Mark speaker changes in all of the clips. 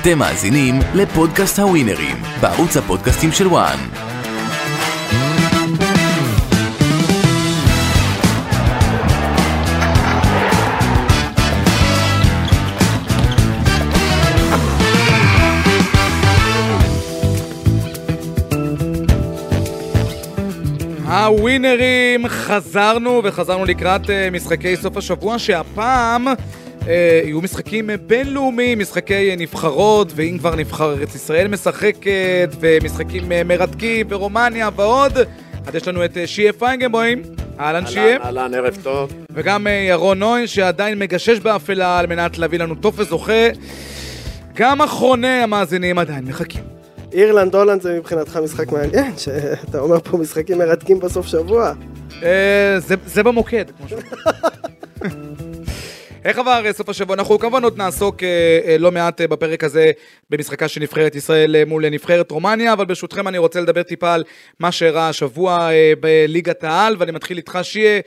Speaker 1: אתם מאזינים לפודקאסט הווינרים, בערוץ הפודקאסטים של וואן.
Speaker 2: הווינרים, חזרנו וחזרנו לקראת אה, משחקי סוף השבוע שהפעם אה, יהיו משחקים אה, בינלאומיים, משחקי אה, נבחרות, ואם כבר נבחר ארץ ישראל משחקת, ומשחקים אה, מרתקים, ורומניה ועוד. אז יש לנו את אה, שיהיה פיינגנבוים, אהלן שיהיה,
Speaker 3: אהלן, אהלן, ערב טוב.
Speaker 2: וגם אה, ירון נוי שעדיין מגשש באפלה על מנת להביא לנו טופס זוכה. גם אחרוני המאזינים עדיין מחכים.
Speaker 4: אירלנד הולנד זה מבחינתך משחק מעניין, שאתה אומר פה משחקים מרתקים בסוף שבוע.
Speaker 2: אה, זה, זה במוקד, כמו שאומרים. איך עבר אה, סוף השבוע? אנחנו כמובן עוד נעסוק אה, אה, לא מעט אה, בפרק הזה במשחקה של נבחרת ישראל אה, מול אה, נבחרת רומניה, אבל ברשותכם אני רוצה לדבר טיפה על מה שאירע השבוע אה, בליגת העל, ואני מתחיל איתך שיהיה.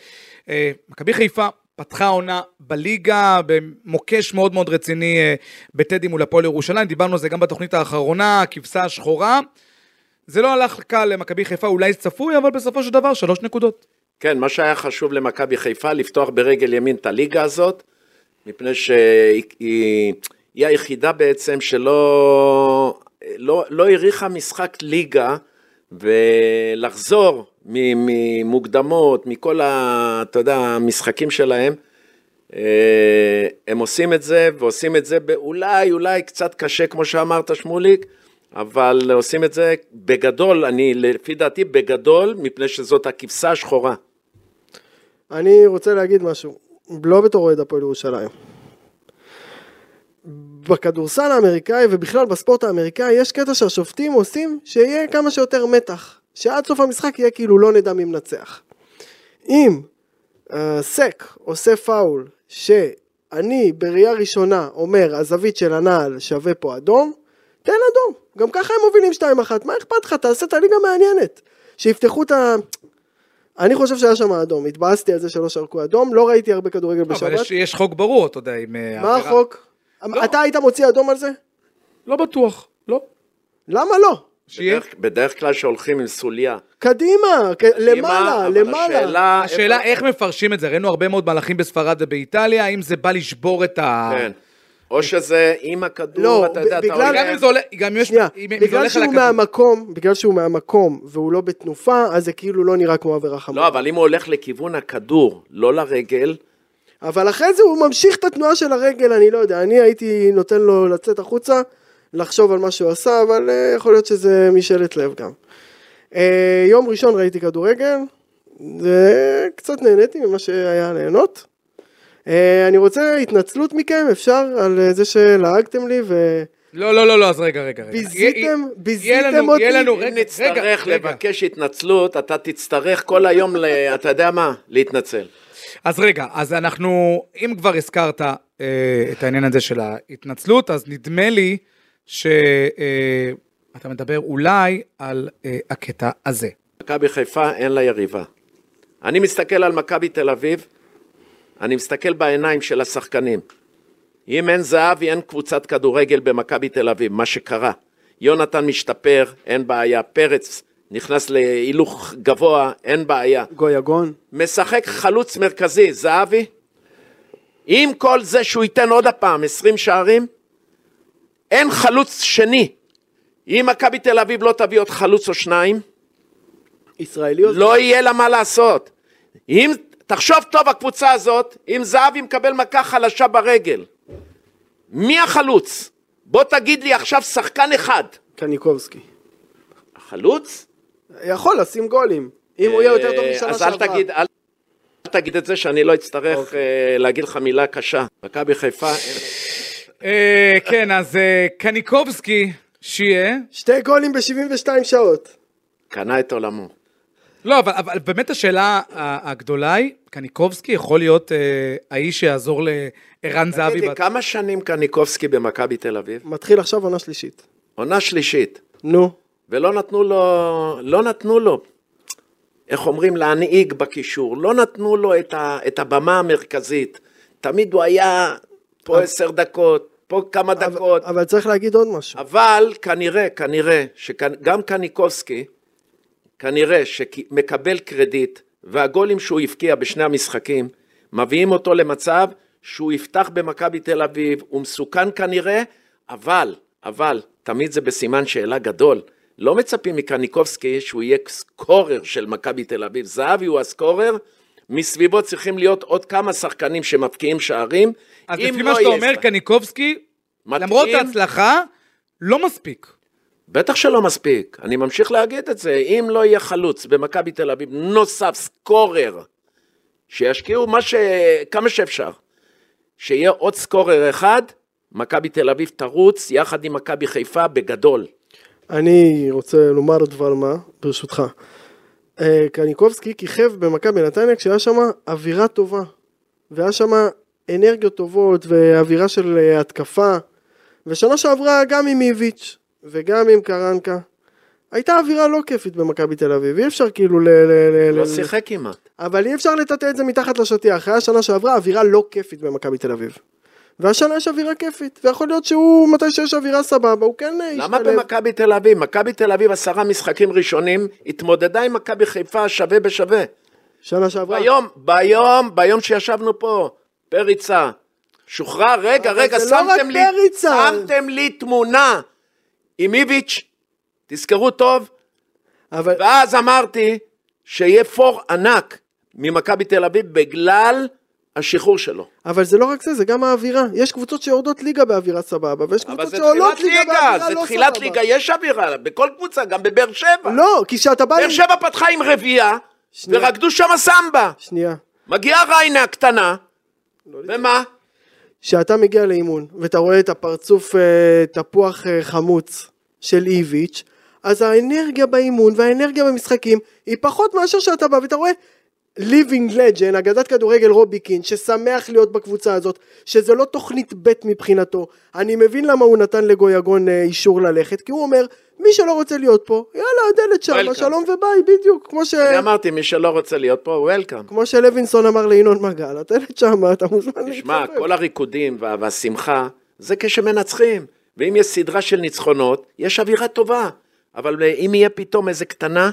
Speaker 2: אה, מכבי חיפה פתחה עונה בליגה במוקש מאוד מאוד רציני אה, בטדי מול הפועל ירושלים, דיברנו על זה גם בתוכנית האחרונה, הכבשה השחורה. זה לא הלך קל למכבי חיפה, אולי זה צפוי, אבל בסופו של דבר שלוש נקודות.
Speaker 3: כן, מה שהיה חשוב למכבי חיפה, לפתוח ברגל ימין את הליגה הזאת, מפני שהיא היא- היא היחידה בעצם שלא לא, לא הריחה משחק ליגה, ולחזור מ- ממוקדמות, מכל ה... אתה יודע, המשחקים שלהם, אה, הם עושים את זה, ועושים את זה באולי, אולי קצת קשה, כמו שאמרת, שמוליק, אבל עושים את זה בגדול, אני, לפי דעתי, בגדול, מפני שזאת הכבשה השחורה.
Speaker 4: אני רוצה להגיד משהו, לא בתור אוהד הפועל ירושלים. בכדורסל האמריקאי ובכלל בספורט האמריקאי יש קטע שהשופטים עושים שיהיה כמה שיותר מתח. שעד סוף המשחק יהיה כאילו לא נדע מי מנצח. אם אה, סק עושה פאול שאני בראייה ראשונה אומר הזווית של הנעל שווה פה אדום, תן אדום. גם ככה הם מובילים 2-1, מה אכפת לך? תעשה את הליגה מעניינת. שיפתחו את ה... אני חושב שהיה שם אדום, התבאסתי על זה שלא שרקו אדום, לא ראיתי הרבה כדורגל בשבת.
Speaker 2: אבל יש, יש חוק ברור, אתה יודע, עם... אה,
Speaker 4: מה
Speaker 2: עבירה.
Speaker 4: החוק?
Speaker 2: לא.
Speaker 4: אתה היית מוציא אדום על זה?
Speaker 2: לא בטוח, לא.
Speaker 4: למה לא?
Speaker 2: שיהיה.
Speaker 3: בדרך, בדרך כלל שהולכים עם סוליה.
Speaker 4: קדימה, כ- למעלה,
Speaker 3: אבל
Speaker 4: למעלה.
Speaker 3: השאלה,
Speaker 2: השאלה איך מפרשים את זה, ראינו הרבה מאוד מהלכים בספרד ובאיטליה, האם זה בא לשבור את ה...
Speaker 3: כן. או שזה עם הכדור,
Speaker 4: לא,
Speaker 3: אתה יודע,
Speaker 4: ב-
Speaker 3: אתה
Speaker 4: בגלל-
Speaker 3: הולך...
Speaker 2: גם אם זה עולה, גם אם יש...
Speaker 4: שנייה,
Speaker 2: אם- אם זה
Speaker 4: בגלל
Speaker 2: הולך על
Speaker 4: שהוא
Speaker 2: הכדור.
Speaker 4: מהמקום, בגלל שהוא מהמקום והוא לא בתנופה, אז זה כאילו לא נראה כמו עבירה
Speaker 3: לא,
Speaker 4: חמורה.
Speaker 3: אבל אם הוא הולך לכיוון הכדור, לא לרגל,
Speaker 4: אבל אחרי זה הוא ממשיך את התנועה של הרגל, אני לא יודע, אני הייתי נותן לו לצאת החוצה, לחשוב על מה שהוא עשה, אבל אה, יכול להיות שזה משאלת לב גם. אה, יום ראשון ראיתי כדורגל, זה- קצת נהניתי ממה שהיה ליהנות. אה, אני רוצה התנצלות מכם, אפשר, על אה, זה שלעגתם לי ו...
Speaker 2: לא, לא, לא, לא, אז רגע, רגע. רגע. יהיה-
Speaker 4: ביזיתם,
Speaker 2: יהיה
Speaker 4: ביזיתם
Speaker 2: לנו-
Speaker 4: אותי.
Speaker 2: יהיה לנו,
Speaker 3: אם
Speaker 2: לא, רגע, רגע,
Speaker 3: נצטרך
Speaker 2: רגע.
Speaker 3: לבקש התנצלות, אתה תצטרך כל היום, ל- אתה יודע מה, להתנצל.
Speaker 2: אז רגע, אז אנחנו, אם כבר הזכרת אה, את העניין הזה של ההתנצלות, אז נדמה לי שאתה מדבר אולי על אה, הקטע הזה.
Speaker 3: מכבי חיפה אין לה יריבה. אני מסתכל על מכבי תל אביב, אני מסתכל בעיניים של השחקנים. אם אין זהבי, אין קבוצת כדורגל במכבי תל אביב, מה שקרה. יונתן משתפר, אין בעיה. פרץ נכנס להילוך גבוה, אין בעיה.
Speaker 4: גויגון.
Speaker 3: משחק חלוץ מרכזי, זהבי. עם כל זה שהוא ייתן עוד הפעם 20 שערים, אין חלוץ שני. אם מכבי תל אביב לא תביא עוד חלוץ או שניים,
Speaker 4: ישראליות.
Speaker 3: לא יהיה לה מה לעשות. אם, תחשוב טוב, הקבוצה הזאת, אם זהבי מקבל מכה חלשה ברגל, מי החלוץ? בוא תגיד לי עכשיו שחקן אחד.
Speaker 4: קניקובסקי.
Speaker 3: החלוץ?
Speaker 4: יכול לשים גולים. אם הוא יהיה יותר טוב
Speaker 3: אה,
Speaker 4: משנה שעברה. אוקיי.
Speaker 3: אז אל תגיד, אל, אל תגיד את זה שאני לא אצטרך אה, להגיד לך מילה קשה. מכבי חיפה, אין-
Speaker 2: אה, כן, אז אה, קניקובסקי, שיהיה,
Speaker 4: שתי גולים ב-72 שעות.
Speaker 3: קנה את עולמו.
Speaker 2: לא, אבל, אבל באמת השאלה ה- הגדולה היא, קניקובסקי יכול להיות אה, האיש שיעזור לערן זהבי.
Speaker 3: תגיד לי,
Speaker 2: בת-
Speaker 3: כמה שנים קניקובסקי במכבי תל אביב?
Speaker 4: מתחיל עכשיו עונה שלישית.
Speaker 3: עונה שלישית,
Speaker 4: נו.
Speaker 3: ולא נתנו לו, לא נתנו לו, איך אומרים, להנהיג בקישור, לא נתנו לו את, ה, את הבמה המרכזית. תמיד הוא היה פה עשר דקות, פה כמה
Speaker 4: אבל-
Speaker 3: דקות.
Speaker 4: אבל צריך להגיד עוד משהו.
Speaker 3: אבל כנראה, כנראה, שגם קניקובסקי, כנראה שמקבל קרדיט, והגולים שהוא הבקיע בשני המשחקים, מביאים אותו למצב שהוא יפתח במכבי תל אביב, הוא מסוכן כנראה, אבל, אבל, תמיד זה בסימן שאלה גדול. לא מצפים מקניקובסקי שהוא יהיה סקורר של מכבי תל אביב. זהבי הוא הסקורר, מסביבו צריכים להיות עוד כמה שחקנים שמבקיעים שערים.
Speaker 2: אז
Speaker 3: אם
Speaker 2: לפי
Speaker 3: לא
Speaker 2: מה שאתה
Speaker 3: יהיה
Speaker 2: אומר,
Speaker 3: שחק-
Speaker 2: קניקובסקי,
Speaker 3: מתאים-
Speaker 2: למרות ההצלחה, לא מספיק.
Speaker 3: בטח שלא מספיק, אני ממשיך להגיד את זה. אם לא יהיה חלוץ במכבי תל אביב, נוסף, סקורר, שישקיעו מה ש... כמה שאפשר. שיהיה עוד סקורר אחד, מכבי תל אביב תרוץ יחד עם מכבי חיפה בגדול.
Speaker 4: אני רוצה לומר דבר מה, ברשותך. אה, קניקובסקי כיכב במכבי נתניה כשהיה שם אווירה טובה. והיה שם אנרגיות טובות ואווירה של אה, התקפה. ושנה שעברה גם עם איביץ' וגם עם קרנקה. הייתה אווירה לא כיפית במכבי תל אביב, אי אפשר כאילו ל... ל- ל-
Speaker 3: לא
Speaker 4: ל-
Speaker 3: שיחק כמעט.
Speaker 4: אבל אי אפשר לטאטא את זה מתחת לשטיח, היה שנה שעברה אווירה לא כיפית במכבי תל אביב. והשנה יש אווירה כיפית, ויכול להיות שהוא, מתי שיש אווירה סבבה, הוא כן אה,
Speaker 3: למה
Speaker 4: ישתלב.
Speaker 3: במכבי תל אביב? מכבי תל אביב עשרה משחקים ראשונים, התמודדה עם מכבי חיפה שווה בשווה.
Speaker 4: שנה שעברה.
Speaker 3: ביום, ביום, ביום שישבנו פה, פריצה. שוחרר, רגע,
Speaker 4: אבל
Speaker 3: רגע,
Speaker 4: זה לא רק
Speaker 3: שמתם לי,
Speaker 4: פריצה.
Speaker 3: שמתם לי תמונה עם איביץ', תזכרו טוב,
Speaker 4: אבל
Speaker 3: ואז אמרתי שיהיה פור ענק ממכבי תל אביב בגלל השחרור שלו.
Speaker 4: אבל זה לא רק זה, זה גם האווירה. יש קבוצות שיורדות ליגה באווירה סבבה, ויש
Speaker 3: אבל
Speaker 4: קבוצות
Speaker 3: זה
Speaker 4: שעולות
Speaker 3: תחילת
Speaker 4: ליגה
Speaker 3: ליגה,
Speaker 4: באווירה
Speaker 3: זה
Speaker 4: לא
Speaker 3: תחילת
Speaker 4: סבבה.
Speaker 3: ליגה, יש אווירה, בכל קבוצה, גם בבאר שבע.
Speaker 4: לא, כי כשאתה בא...
Speaker 3: באר
Speaker 4: ל-
Speaker 3: שבע פתחה עם רביעייה,
Speaker 4: שנייה.
Speaker 3: ורקדו שם סמבה.
Speaker 4: שנייה.
Speaker 3: מגיעה ריינה הקטנה,
Speaker 4: לא
Speaker 3: ומה?
Speaker 4: כשאתה מגיע לאימון, ואתה רואה את הפרצוף אה, תפוח אה, חמוץ של איביץ', אז האנרגיה באימון והאנרגיה במשחקים היא פחות מאשר שאתה בא ואתה רואה living legend, אגדת כדורגל רובי קין, ששמח להיות בקבוצה הזאת, שזה לא תוכנית ב' מבחינתו. אני מבין למה הוא נתן לגויגון אה, אישור ללכת, כי הוא אומר, מי שלא רוצה להיות פה, יאללה, הדלת שמה,
Speaker 3: Welcome.
Speaker 4: שלום וביי, בדיוק, כמו ש...
Speaker 3: אני אמרתי, מי שלא רוצה להיות פה, וולקאם.
Speaker 4: כמו שלוינסון אמר לינון מגל, הדלת שמה, אתה מוזמן להתחבר.
Speaker 3: תשמע, כל הריקודים וה- והשמחה, זה כשמנצחים. ואם יש סדרה של ניצחונות, יש אווירה טובה. אבל אה, אם יהיה פתאום איזה קטנה,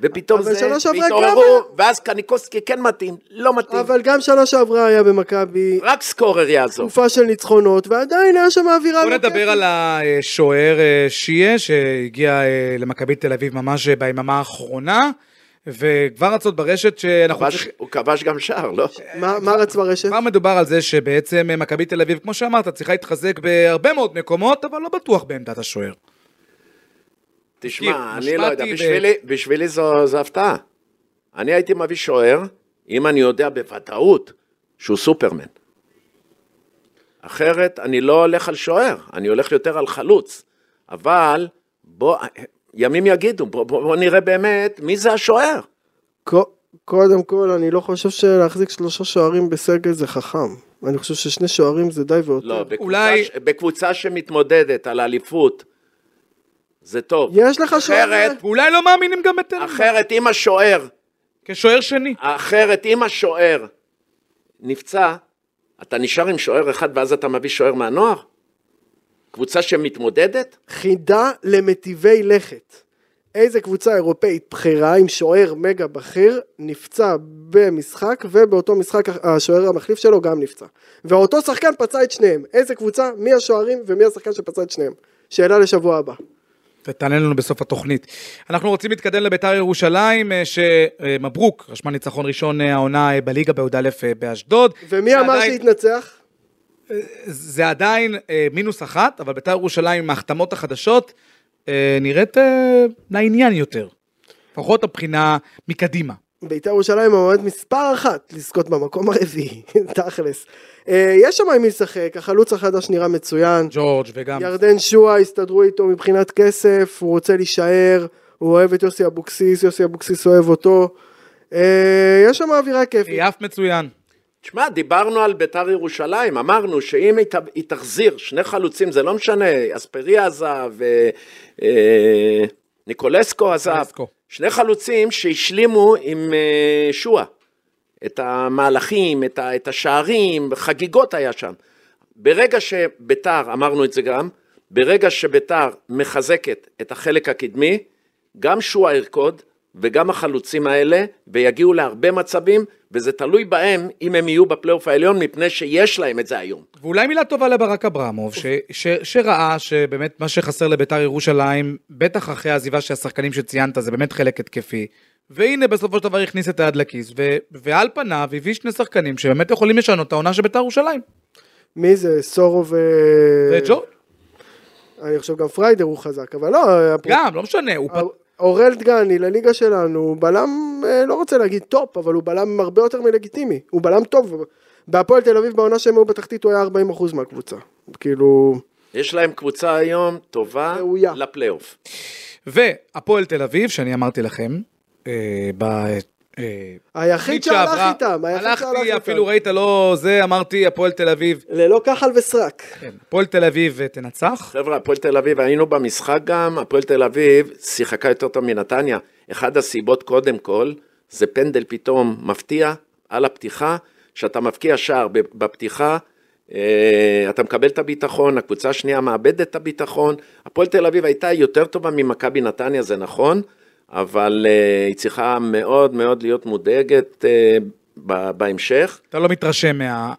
Speaker 3: ופתאום
Speaker 4: אבל
Speaker 3: זה,
Speaker 4: שנה שעברה
Speaker 3: והתעוררו,
Speaker 4: גם-
Speaker 3: ואז קניקובסקי כן מתאים, לא מתאים.
Speaker 4: אבל גם שנה שעברה היה במכבי
Speaker 3: רק סקורר יעזור.
Speaker 4: תקופה של ניצחונות, ועדיין היה שם אווירה...
Speaker 2: בוא
Speaker 4: לא כיפית.
Speaker 2: נדבר על השוער אה, שיה, שהגיע אה, למכבי תל אביב ממש אה, ביממה האחרונה, וכבר רצות ברשת שאנחנו...
Speaker 3: כבש-
Speaker 2: צריכים-
Speaker 3: הוא כבש גם שער, לא?
Speaker 4: מה- מה רץ ברשת?
Speaker 2: כבר מדובר על זה שבעצם אה, מכבי תל אביב, כמו שאמרת, צריכה להתחזק בהרבה מאוד מקומות, אבל לא בטוח בעמדת השוער.
Speaker 3: תשמע,
Speaker 2: כי
Speaker 3: אני לא יודע,
Speaker 2: הושפעתי ב-
Speaker 3: בשבילי, בשבילי זו, זו הפתעה. אני הייתי מביא שוער, אם אני יודע בוודאות שהוא סופרמן. אחרת, אני לא הולך על שוער, אני הולך יותר על חלוץ. אבל, בוא, ימים יגידו, בוא, בוא, בוא נראה באמת מי זה השוער.
Speaker 4: ק- קודם כל, אני לא חושב שלהחזיק שלושה שוערים בסגל זה חכם. אני חושב ששני שוערים זה די ויותר.
Speaker 3: לא, בקבוצה,
Speaker 2: אולי-
Speaker 3: ש, בקבוצה שמתמודדת על אליפות, זה טוב.
Speaker 4: יש לך שוער...
Speaker 3: אחרת,
Speaker 2: ואולי לא מאמינים גם בטרנר,
Speaker 3: אחרת, אם השוער
Speaker 2: כשוער שני.
Speaker 3: אחרת, אם השוער נפצע, אתה נשאר עם שוער אחד ואז אתה מביא שוער מהנוער? קבוצה שמתמודדת?
Speaker 4: חידה למטיבי לכת. איזה קבוצה אירופאית בכירה עם שוער מגה בכיר נפצע במשחק ובאותו משחק השוער המחליף שלו גם נפצע. ואותו שחקן פצע את שניהם. איזה קבוצה, מי השוערים ומי השחקן שפצע את שניהם. שאלה לשבוע הבא.
Speaker 2: ותענה לנו בסוף התוכנית. אנחנו רוצים להתקדם לביתר ירושלים, אה, שמברוק, רשמה ניצחון ראשון אה, העונה אה, בליגה בי"א אה, באשדוד.
Speaker 4: ומי אמר
Speaker 2: שעדיין-
Speaker 4: שהתנצח?
Speaker 2: זה עדיין אה, מינוס אחת, אבל בית"ר ירושלים עם ההחתמות החדשות אה, נראית אה, לעניין יותר. לפחות הבחינה מקדימה.
Speaker 4: בית"ר ירושלים המועמד מספר אחת לזכות במקום הרביעי, תכלס. אה, יש שם עם מי לשחק, החלוץ החדש נראה מצוין.
Speaker 2: ג'ורג' וגם...
Speaker 4: ירדן שואה הסתדרו איתו מבחינת כסף, הוא רוצה להישאר, הוא אוהב את יוסי אבוקסיס, יוסי אבוקסיס אוהב אותו. אה, יש שם אווירה כיפית.
Speaker 2: יף מצוין.
Speaker 3: תשמע, דיברנו על ביתר ירושלים, אמרנו שאם היא ת- היא תחזיר שני חלוצים, זה לא משנה, אספריה עזב, אה, אה, ניקולסקו עזב,
Speaker 2: ניקולסקו.
Speaker 3: שני חלוצים שהשלימו עם אה, שואה, את המהלכים, את ה- את השערים, חגיגות היה שם. ברגע שביתר, אמרנו את זה גם, ברגע שביתר מחזקת את החלק הקדמי, גם שועה ירקוד וגם החלוצים האלה, ויגיעו להרבה מצבים, וזה תלוי בהם אם הם יהיו בפלייאוף העליון, מפני שיש להם את זה היום.
Speaker 2: ואולי מילה טובה לברק אברמוב, ש, ש, שראה שבאמת מה שחסר לביתר ירושלים, בטח אחרי העזיבה של השחקנים שציינת, זה באמת חלק התקפי. והנה בסופו של דבר הכניס את היד לכיס, ו, ועל פניו הביא שני שחקנים שבאמת יכולים לשנות את העונה של ביתר ירושלים. אה,
Speaker 4: מי זה? סורו ו... אה,
Speaker 2: וג'ו,
Speaker 4: אני חושב גם פריידר הוא חזק, אבל לא, הפרו-
Speaker 2: גם, לא משנה, הוא פ...
Speaker 4: אורל דגני לליגה שלנו, הוא בלם, אה, לא רוצה להגיד טופ, אבל הוא בלם הרבה יותר מלגיטימי. הוא בלם טוב. בהפועל תל אביב בעונה שהם היו בתחתית הוא היה 40% מהקבוצה. כאילו,
Speaker 3: יש להם קבוצה היום טובה
Speaker 4: ראויה.
Speaker 3: לפלייאוף.
Speaker 2: והפועל תל אביב, שאני אמרתי לכם, אה, ב... אה,
Speaker 4: היחיד שהלך איתם, היחיד שהלך
Speaker 2: הלכתי,
Speaker 4: איתם.
Speaker 2: אפילו ראית, לא זה, אמרתי, הפועל תל אביב,
Speaker 4: ללא כחל וסרק.
Speaker 2: כן, הפועל תל אביב אה, תנצח.
Speaker 3: חבר'ה, הפועל תל אביב, היינו במשחק גם, הפועל תל אביב שיחקה יותר טוב מנתניה. אחד הסיבות קודם כל, זה פנדל פתאום מפתיע על הפתיחה, שאתה מבקיע שער ב- בפתיחה, אה, אתה מקבל את הביטחון, הקבוצה השנייה מאבדת את הביטחון. הפועל תל אביב הייתה יותר טובה ממכבי נתניה, זה נכון, אבל אה, היא צריכה מאוד מאוד להיות מודאגת אה, ב- בהמשך.
Speaker 2: אתה לא מתרשם מהארבע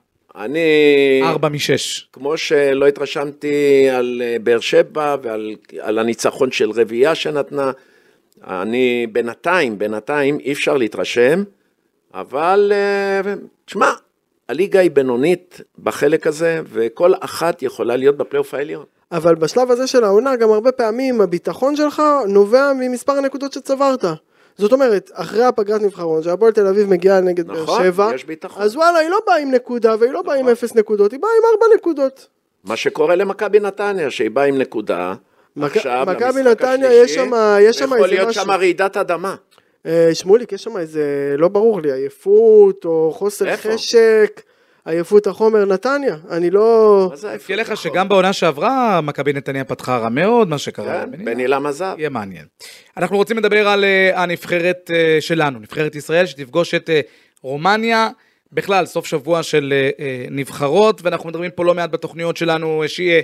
Speaker 3: אני...
Speaker 2: משש.
Speaker 3: כמו שלא התרשמתי על אה, באר שבע ועל על הניצחון של רביעייה שנתנה, אני בינתיים, בינתיים אי אפשר להתרשם, אבל אה, תשמע, הליגה היא בינונית בחלק הזה, וכל אחת יכולה להיות בפלייאוף העליון.
Speaker 4: אבל בשלב הזה של העונה, גם הרבה פעמים הביטחון שלך נובע ממספר הנקודות שצברת. זאת אומרת, אחרי הפגרת נבחרון, שהפועל תל אביב מגיעה נגד
Speaker 3: נכון,
Speaker 4: באר שבע,
Speaker 3: יש ביטחון. נכון.
Speaker 4: אז וואלה, היא לא באה עם נקודה, והיא לא באה עם אפס נקודות, היא באה עם ארבע נקודות.
Speaker 3: מה שקורה למכבי נתניה, שהיא באה עם נקודה,
Speaker 4: מכ-
Speaker 3: עכשיו,
Speaker 4: מכבי
Speaker 3: למשחק
Speaker 4: נתניה,
Speaker 3: השלישי,
Speaker 4: יש שמה- יש שמה
Speaker 3: יכול
Speaker 4: איזה
Speaker 3: להיות
Speaker 4: משהו.
Speaker 3: שם רעידת אדמה.
Speaker 4: אה, שמוליק, יש שם איזה, לא ברור לי, עייפות או חוסר
Speaker 3: איפה?
Speaker 4: חשק, עייפות החומר, נתניה, אני לא...
Speaker 3: מה זה
Speaker 2: מזכיר לך
Speaker 3: ההפך?
Speaker 2: שגם בעונה שעברה מכבי נתניה פתחה רע מאוד, מה שקרה.
Speaker 3: כן,
Speaker 2: לבני.
Speaker 3: בן עילם עזב.
Speaker 2: יהיה מעניין. אנחנו רוצים לדבר על אה, הנבחרת אה, שלנו, נבחרת ישראל, שתפגוש את אה, רומניה. בכלל, סוף שבוע של אה, אה, נבחרות, ואנחנו מדברים פה לא מעט בתוכניות שלנו, אה, שיהיה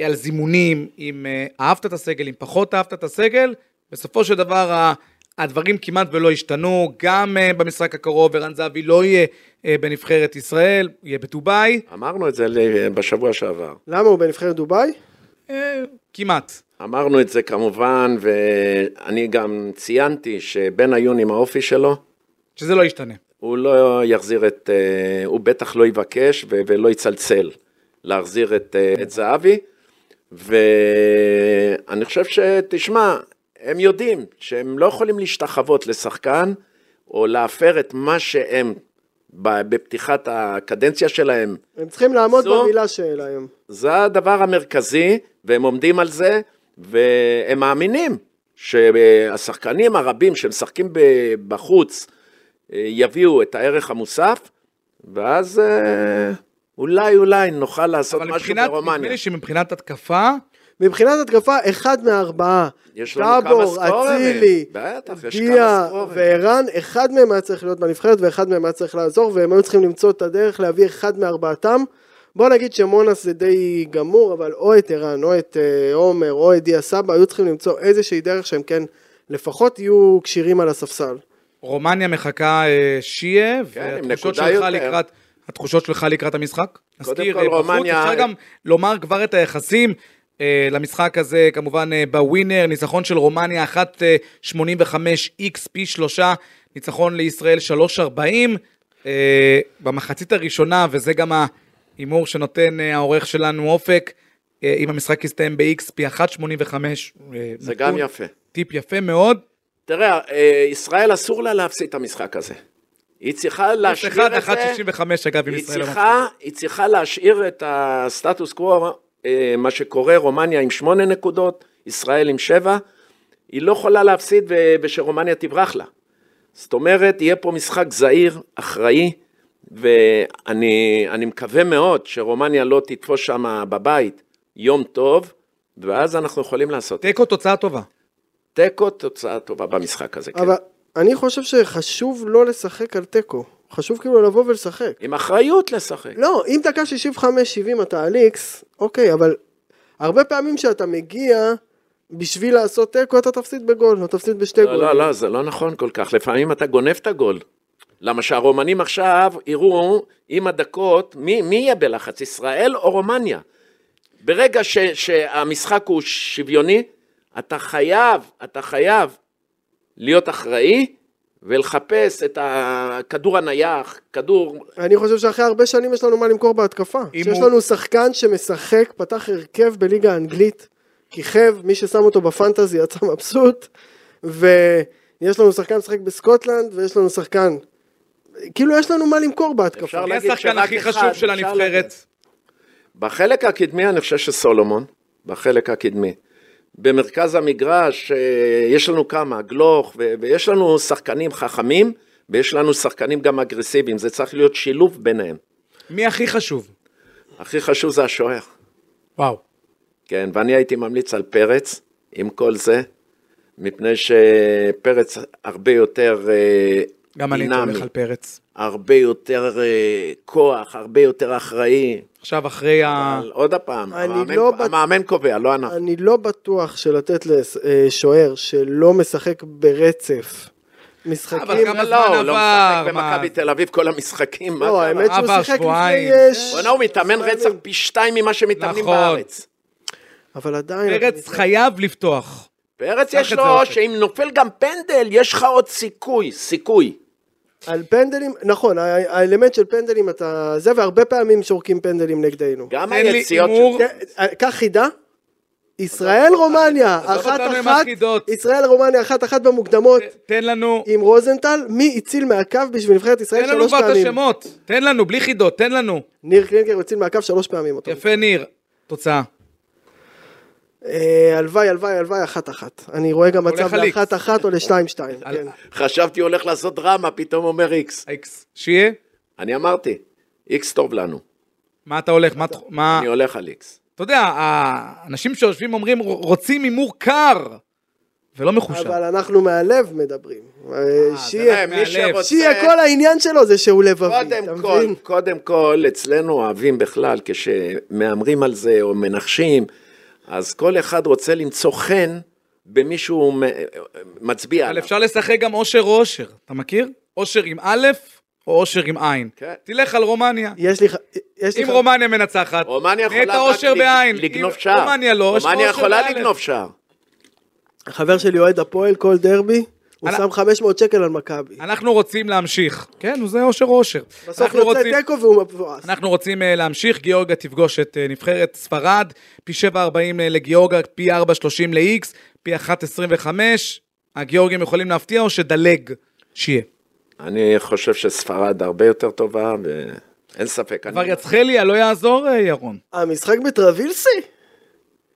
Speaker 2: על זימונים, אם אה, אהבת את הסגל, אם פחות אהבת את הסגל. בסופו של דבר, ה- הדברים כמעט ולא השתנו, גם אה, במשחק הקרוב, ערן זהבי לא יהיה אה, בנבחרת ישראל, הוא יהיה בדובאי,
Speaker 3: אמרנו את זה ל- בשבוע שעבר.
Speaker 4: למה הוא בנבחרת דובאי?
Speaker 2: אה, כמעט.
Speaker 3: אמרנו את זה כמובן, ואני גם ציינתי שבן עיון עם האופי שלו,
Speaker 2: שזה לא ישתנה.
Speaker 3: הוא לא יחזיר את, אה, הוא בטח לא יבקש ו- ולא יצלצל להחזיר את, אה, את זהבי, ואני חושב שתשמע, הם יודעים שהם לא יכולים להשתחוות לשחקן, או להפר את מה שהם ב- בפתיחת הקדנציה שלהם
Speaker 4: הם צריכים לעמוד
Speaker 3: זו-
Speaker 4: במילה שלהם.
Speaker 3: זה הדבר המרכזי, והם עומדים על זה, והם מאמינים שהשחקנים הרבים שמשחקים ב- בחוץ אה, יביאו את הערך המוסף, ואז אה, אולי אולי נוכל לעשות
Speaker 2: אבל
Speaker 3: משהו
Speaker 2: מבחינת, נדמה
Speaker 3: ברומניה.
Speaker 2: לי שמבחינת התקפה,
Speaker 4: מבחינת התקפה, אחד מארבעה.
Speaker 3: יש לנו כמה
Speaker 4: טאבור,
Speaker 3: סקוררים.
Speaker 4: אצילי,
Speaker 3: בטח, יש כמה
Speaker 4: דיה
Speaker 3: סקוררים.
Speaker 4: וערן, אחד מהם היה צריך להיות בנבחרת ואחד מהם היה צריך לעזור, והם היו צריכים למצוא את הדרך להביא אחד מארבעתם. בוא נגיד שמונס זה די גמור, אבל או את ערן, או את אה, עומר, או את דיה סבא, היו צריכים למצוא איזושהי דרך שהם כן, לפחות יהיו כשירים על הספסל.
Speaker 2: רומניה מחכה אה, שיה,
Speaker 3: כן, עם
Speaker 2: והתחושות
Speaker 3: נקודה
Speaker 2: שלך
Speaker 3: יותר.
Speaker 2: לקראת... התחושות שלך לקראת המשחק? נזכיר,
Speaker 3: כל
Speaker 2: אה, בחוץ,
Speaker 3: רומניה-
Speaker 2: אפשר גם לומר כבר את היחסים אה, למשחק הזה, כמובן אה, בווינר, ניצחון של רומניה אה, 1.85x פי שלושה, ניצחון לישראל 3.40. אה, במחצית הראשונה, וזה גם ההימור שנותן אה, העורך שלנו אופק, אה, אם המשחק יסתיים ב-x פי 1.85. אה,
Speaker 3: זה
Speaker 2: נתון-
Speaker 3: גם יפה.
Speaker 2: טיפ יפה מאוד.
Speaker 3: תראה, אה, ישראל אסור לה להפסיד את המשחק הזה. היא צריכה להשאיר
Speaker 2: אחד,
Speaker 3: את זה.
Speaker 2: 1.65 אגב, עם
Speaker 3: היא
Speaker 2: ישראל. לא
Speaker 3: צריכה, היא צריכה להשאיר את הסטטוס קוו, אה, מה שקורה, רומניה עם שמונה נקודות, ישראל עם שבע, היא לא יכולה להפסיד ו- ושרומניה תברח לה. זאת אומרת, יהיה פה משחק זהיר, אחראי, ואני אני מקווה מאוד שרומניה לא תתפוס שם בבית יום טוב, ואז אנחנו יכולים לעשות
Speaker 2: תיקו תוצאה טובה.
Speaker 3: תיקו, תוצאה טובה במשחק הזה. כן.
Speaker 4: אבל אני חושב שחשוב לא לשחק על תיקו. חשוב כאילו לבוא ולשחק.
Speaker 3: עם אחריות לשחק.
Speaker 4: לא, אם דקה 65-70 אתה על איקס, אוקיי, אבל הרבה פעמים כשאתה מגיע בשביל לעשות תיקו, אתה תפסיד בגול, או תפסיד בשתי
Speaker 3: לא,
Speaker 4: גולים.
Speaker 3: לא, לא, זה לא נכון כל כך. לפעמים אתה גונב את הגול. למה שהרומנים עכשיו יראו עם הדקות, מי, מי יהיה בלחץ, ישראל או רומניה? ברגע ש, שהמשחק הוא שוויוני, אתה חייב, אתה חייב להיות אחראי ולחפש את הכדור הנייח, כדור...
Speaker 4: אני חושב שאחרי הרבה שנים יש לנו מה למכור בהתקפה.
Speaker 2: אם
Speaker 4: שיש
Speaker 2: הוא-
Speaker 4: לנו שחקן שמשחק, פתח הרכב בליגה האנגלית, כיכב, מי ששם אותו בפנטזי יצא מבסוט, ויש לנו שחקן משחק בסקוטלנד, ויש לנו שחקן... כאילו יש לנו מה למכור בהתקפה.
Speaker 3: אפשר
Speaker 2: מי
Speaker 3: להגיד
Speaker 2: השחקן
Speaker 3: שרק
Speaker 2: הכי
Speaker 3: אחד
Speaker 2: חשוב של
Speaker 3: אפשר
Speaker 2: הנבחרת?
Speaker 3: בחלק הקדמי אני חושב שסולומון, בחלק הקדמי. במרכז המגרש אה, יש לנו כמה, גלוך, ו- ויש לנו שחקנים חכמים, ויש לנו שחקנים גם אגרסיביים, זה צריך להיות שילוב ביניהם.
Speaker 2: מי הכי חשוב?
Speaker 3: הכי חשוב זה השוער,
Speaker 2: וואו.
Speaker 3: כן, ואני הייתי ממליץ על פרץ, עם כל זה, מפני שפרץ הרבה יותר אה,
Speaker 2: גם אני הייתי הולך על פרץ.
Speaker 3: הרבה יותר אה, כוח, הרבה יותר אחראי.
Speaker 2: עכשיו אחרי ה...
Speaker 3: אבל עוד פעם,
Speaker 4: אני
Speaker 3: המאמן,
Speaker 4: לא בט-
Speaker 3: המאמן קובע, לא אנחנו.
Speaker 4: אני לא בטוח שלתת לשוער שלא משחק ברצף
Speaker 2: אבל
Speaker 4: משחקים...
Speaker 2: גם-
Speaker 3: אבל
Speaker 2: הזמן
Speaker 3: לא, הוא לא
Speaker 2: עבר,
Speaker 3: משחק
Speaker 2: מה?
Speaker 3: במכבי תל אביב כל המשחקים. מה
Speaker 4: לא,
Speaker 3: קרה?
Speaker 4: האמת שהוא
Speaker 2: עבר
Speaker 4: שיחק לפני...
Speaker 2: שבועיים.
Speaker 4: אה, ש-
Speaker 3: בוא'נה, הוא מתאמן רצח פי שתיים ממה שמתאמנים
Speaker 2: נכון.
Speaker 3: בארץ.
Speaker 4: אבל עדיין... אתה
Speaker 2: פרץ
Speaker 4: מסתכל-
Speaker 2: חייב לפתוח.
Speaker 3: פרץ
Speaker 2: קח
Speaker 3: יש
Speaker 2: את זה, אופק.
Speaker 3: לו, שאם נופל גם פנדל, יש לך עוד סיכוי, סיכוי.
Speaker 4: על פנדלים, נכון, ה- האלמנט של פנדלים אתה... זה, והרבה פעמים שורקים פנדלים נגדנו.
Speaker 3: גם
Speaker 2: תן לי
Speaker 3: היציאות
Speaker 2: הימור.
Speaker 3: של...
Speaker 4: ת- קח חידה. ישראל רומניה,
Speaker 2: עזוב
Speaker 4: אחת
Speaker 2: אותנו עם
Speaker 4: אחת,
Speaker 2: החידות.
Speaker 4: ישראל רומניה אחת אחת במוקדמות
Speaker 2: תן לנו...
Speaker 4: עם רוזנטל, מי הציל מהקו בשביל נבחרת ישראל
Speaker 2: תן לנו
Speaker 4: שלוש
Speaker 2: כבר את
Speaker 4: פעמים?
Speaker 2: השמות. תן לנו, בלי חידות, תן לנו.
Speaker 4: ניר קלינגר הציל מהקו שלוש פעמים אותו.
Speaker 2: יפה, ניר. תוצאה.
Speaker 4: אה, הלוואי, הלוואי, הלוואי, אחת אחת. אני רואה גם מצב
Speaker 2: הולך על
Speaker 4: לאחת אחת או לשתיים שתיים.
Speaker 2: על-
Speaker 4: כן.
Speaker 3: חשבתי הוא הולך לעשות דרמה, פתאום אומר איקס.
Speaker 2: איקס. שיהיה?
Speaker 3: אני אמרתי, איקס טוב לנו,
Speaker 2: אה. מה אתה הולך? מה... אתה- מה...
Speaker 3: אני הולך על איקס.
Speaker 2: אתה יודע, האנשים שיושבים אומרים, רוצים הימור קר, ולא מחושב.
Speaker 4: אבל אנחנו מהלב מדברים. אה, שיהיה,
Speaker 3: אה, מי
Speaker 2: מהלב.
Speaker 3: שרוצה-
Speaker 4: שיהיה, כל העניין שלו זה שהוא לבבי, אתה
Speaker 3: קודם כל,
Speaker 4: מבין?
Speaker 3: קודם כל, אצלנו אוהבים בכלל, כשמהמרים על זה או מנחשים, אז כל אחד רוצה למצוא חן במישהו מצביע
Speaker 2: אבל
Speaker 3: עליו.
Speaker 2: אפשר לשחק גם אושר או אושר, אתה מכיר? אושר עם א' או אושר עם עין.
Speaker 3: כן.
Speaker 2: תלך על רומניה.
Speaker 4: יש לי... ח- יש לי
Speaker 2: אם
Speaker 4: ח-
Speaker 2: רומניה מנצחת,
Speaker 3: רומניה
Speaker 2: נהיה את
Speaker 3: יכולה רק
Speaker 2: האושר
Speaker 3: לג-
Speaker 2: בעין.
Speaker 3: לגנוב
Speaker 2: אם
Speaker 3: שער.
Speaker 2: רומניה לא, יש לך
Speaker 3: רומניה
Speaker 2: אושר
Speaker 3: יכולה
Speaker 2: באלף.
Speaker 3: לגנוב שער.
Speaker 4: חבר שלי אוהד הפועל כל דרבי, הוא
Speaker 2: אני-
Speaker 4: שם 500 שקל על מכבי.
Speaker 2: אנחנו רוצים להמשיך. כן, זה אושר או אושר.
Speaker 4: בסוף
Speaker 2: אנחנו
Speaker 4: יוצא
Speaker 2: רוצים-
Speaker 4: תיקו והוא מבואס.
Speaker 2: אנחנו רוצים אה, להמשיך, גיאורגיה תפגוש את אה, נבחרת ספרד, פי 7.40 אה, לגיאורגיה, פי 4.30 ל-X, פי 1.25. הגיאורגים יכולים להפתיע או שדלג שיהיה.
Speaker 3: אני חושב שספרד הרבה יותר טובה, ואין ספק. אני-
Speaker 2: כבר יצחליה, לא יעזור, אה, ירון.
Speaker 4: המשחק בטרבילסי?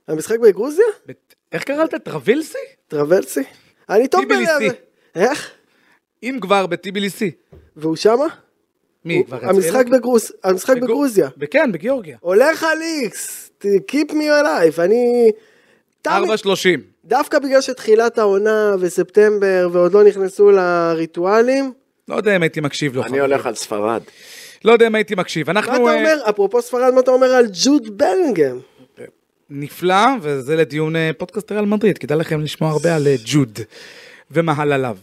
Speaker 4: המשחק בגרוזיה?
Speaker 2: בת- איך קראת? טרבילסי?
Speaker 4: טרבלסי? אני טוב
Speaker 2: טיביליסי.
Speaker 4: בלב. איך?
Speaker 2: אם כבר, בטיביליסי.
Speaker 4: והוא שמה?
Speaker 2: מי, כבר יצחליה?
Speaker 4: המשחק בגרוס- המשחק
Speaker 2: בגו-
Speaker 4: בגרוזיה.
Speaker 2: כן, בגיאורגיה.
Speaker 4: הולך על איקס, ת- keep me alive, אני... תמי-
Speaker 2: 4.30.
Speaker 4: דווקא בגלל שתחילת העונה וספטמבר ועוד לא נכנסו לריטואלים,
Speaker 2: לא יודע אם הייתי מקשיב לו.
Speaker 3: אני
Speaker 2: חברים.
Speaker 3: הולך על ספרד.
Speaker 2: לא יודע אם הייתי מקשיב. אנחנו...
Speaker 4: מה אתה
Speaker 2: אה,
Speaker 4: אומר, אפרופו ספרד, מה אתה אומר על ג'וד בלינגהם?
Speaker 2: נפלא, וזה לדיון אה, פודקאסט ריאל מדריד, כדאי לכם לשמוע הרבה על אה, ג'וד ומהלליו.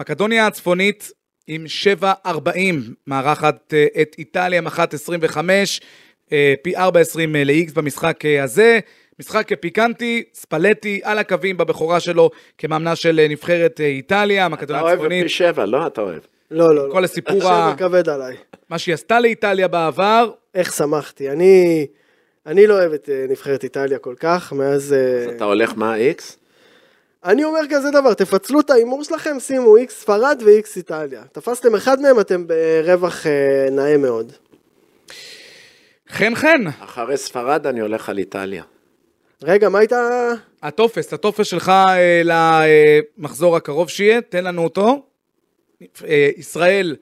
Speaker 2: מקדוניה הצפונית עם 7.40 מארחת אה, את איטליה עם 1.25, אה, פי 4.20 אה, ל-X במשחק אה, הזה. משחק אה, פיקנטי, ספלטי, על הקווים בבכורה שלו כמאמנה של אה, נבחרת אה, איטליה,
Speaker 3: אתה
Speaker 2: מקדוניה
Speaker 3: אוהב
Speaker 2: הצפונית,
Speaker 3: פי שבע, לא? אתה אוהב.
Speaker 4: לא, לא, לא.
Speaker 2: כל הסיפור
Speaker 4: עכשיו
Speaker 2: ה-
Speaker 4: זה כבד עליי.
Speaker 2: מה שהיא עשתה לאיטליה בעבר,
Speaker 4: איך שמחתי. אני, אני לא אוהב את אה, נבחרת איטליה כל כך, מאז... אה,
Speaker 3: אתה הולך מה איקס?
Speaker 4: אני אומר כזה דבר, תפצלו את ההימור שלכם, שימו איקס ספרד ואיקס איטליה. תפסתם אחד מהם, אתם ברווח אה, נאה מאוד.
Speaker 2: חן חן,
Speaker 3: אחרי ספרד אני הולך על איטליה.
Speaker 4: רגע, מה הייתה...
Speaker 2: הטופס, הטופס שלך אה, למחזור הקרוב שיהיה, תן לנו אותו. אה, ישראל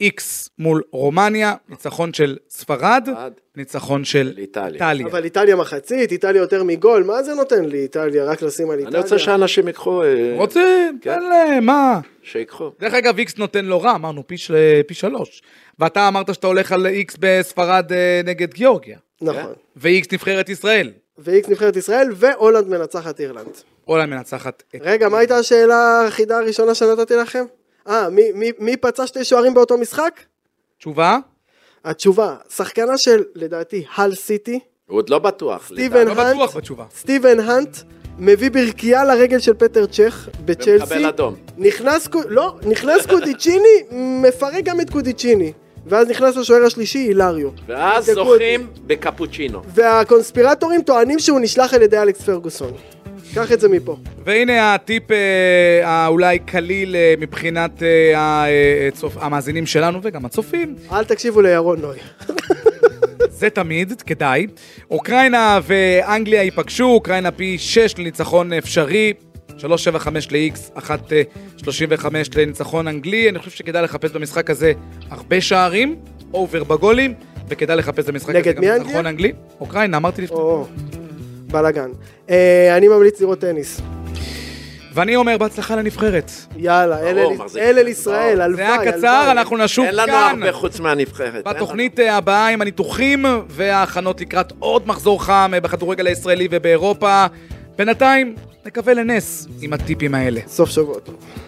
Speaker 2: איקס מול רומניה, ניצחון של ספרד,
Speaker 3: ספרד.
Speaker 2: ניצחון של
Speaker 3: איטליה.
Speaker 2: איטליה.
Speaker 4: אבל איטליה מחצית, איטליה יותר מגול, מה זה נותן לי איטליה? רק לשים על איטליה?
Speaker 3: אני רוצה שאנשים ייקחו, אה,
Speaker 2: רוצים,
Speaker 3: כן.
Speaker 2: תן להם, מה?
Speaker 3: שיקחו.
Speaker 2: דרך אגב, איקס נותן לו רע, אמרנו פי, של... אה, פי שלוש. ואתה אמרת שאתה הולך על איקס בספרד אה, נגד גיאורגיה.
Speaker 3: אה?
Speaker 4: נכון.
Speaker 2: ואיקס נבחרת ישראל.
Speaker 4: ואיקס נבחרת ישראל, והולנד מנצחת אירלנד.
Speaker 2: הולנד מנצחת את...
Speaker 4: רגע, מה הייתה השאלה האחידה הראשונה שנתתי לכם? אה, מי, מי, מי פצע שתי שוערים באותו משחק?
Speaker 2: תשובה?
Speaker 4: התשובה, שחקנה של, לדעתי, הל סיטי,
Speaker 3: הוא עוד לא בטוח.
Speaker 4: סטיבן
Speaker 2: לא
Speaker 4: האנט,
Speaker 2: בטוח בתשובה.
Speaker 4: סטיבן האנט, מביא ברכייה לרגל של פטר צ'ך בצ'לסי.
Speaker 3: ומקבל אדום.
Speaker 4: נכנס, קו- לא, נכנס קודיצ'יני, מפרק גם את קודיצ'יני. ואז נכנס השוער השלישי, הילריו.
Speaker 3: ואז
Speaker 4: תבדקו אותי.
Speaker 3: זוכים בקפוצ'ינו.
Speaker 4: והקונספירטורים טוענים שהוא נשלח על ידי אלכס פרגוסון. קח את זה מפה.
Speaker 2: והנה הטיפ אה, האולי קליל אה, מבחינת אה, הצופ... המאזינים שלנו וגם הצופים.
Speaker 4: אל תקשיבו לירון נוי.
Speaker 2: זה תמיד, כדאי. אוקראינה ואנגליה ייפגשו, אוקראינה פי 6 לניצחון אפשרי. 3.75 ל-X, 1.35 לניצחון אנגלי. אני חושב שכדאי לחפש במשחק הזה הרבה שערים, אובר בגולים, וכדאי לחפש במשחק
Speaker 4: נגד
Speaker 2: הזה גם
Speaker 4: מי אנגליה?
Speaker 2: ניצחון אנגלי. אוקראינה, אמרתי לפני.
Speaker 4: או, בלאגן. אה, אני ממליץ לראות טניס.
Speaker 2: ואני אומר, בהצלחה לנבחרת.
Speaker 4: יאללה, אל אל-
Speaker 3: מחזיק.
Speaker 4: אל אל ישראל, הלוואי,
Speaker 2: זה היה קצר,
Speaker 4: הלוואי.
Speaker 2: אנחנו נשוב
Speaker 3: אין לנו
Speaker 2: כאן.
Speaker 3: הרבה חוץ מהנבחרת. אין
Speaker 2: בתוכנית אה, הבאה עם הניתוחים וההכנות לקראת עוד מחזור חם אה, בכדורגל הישראלי ובאירופה. בינתיים, נקווה לנס עם הטיפים האלה.
Speaker 4: סוף שבוע טוב.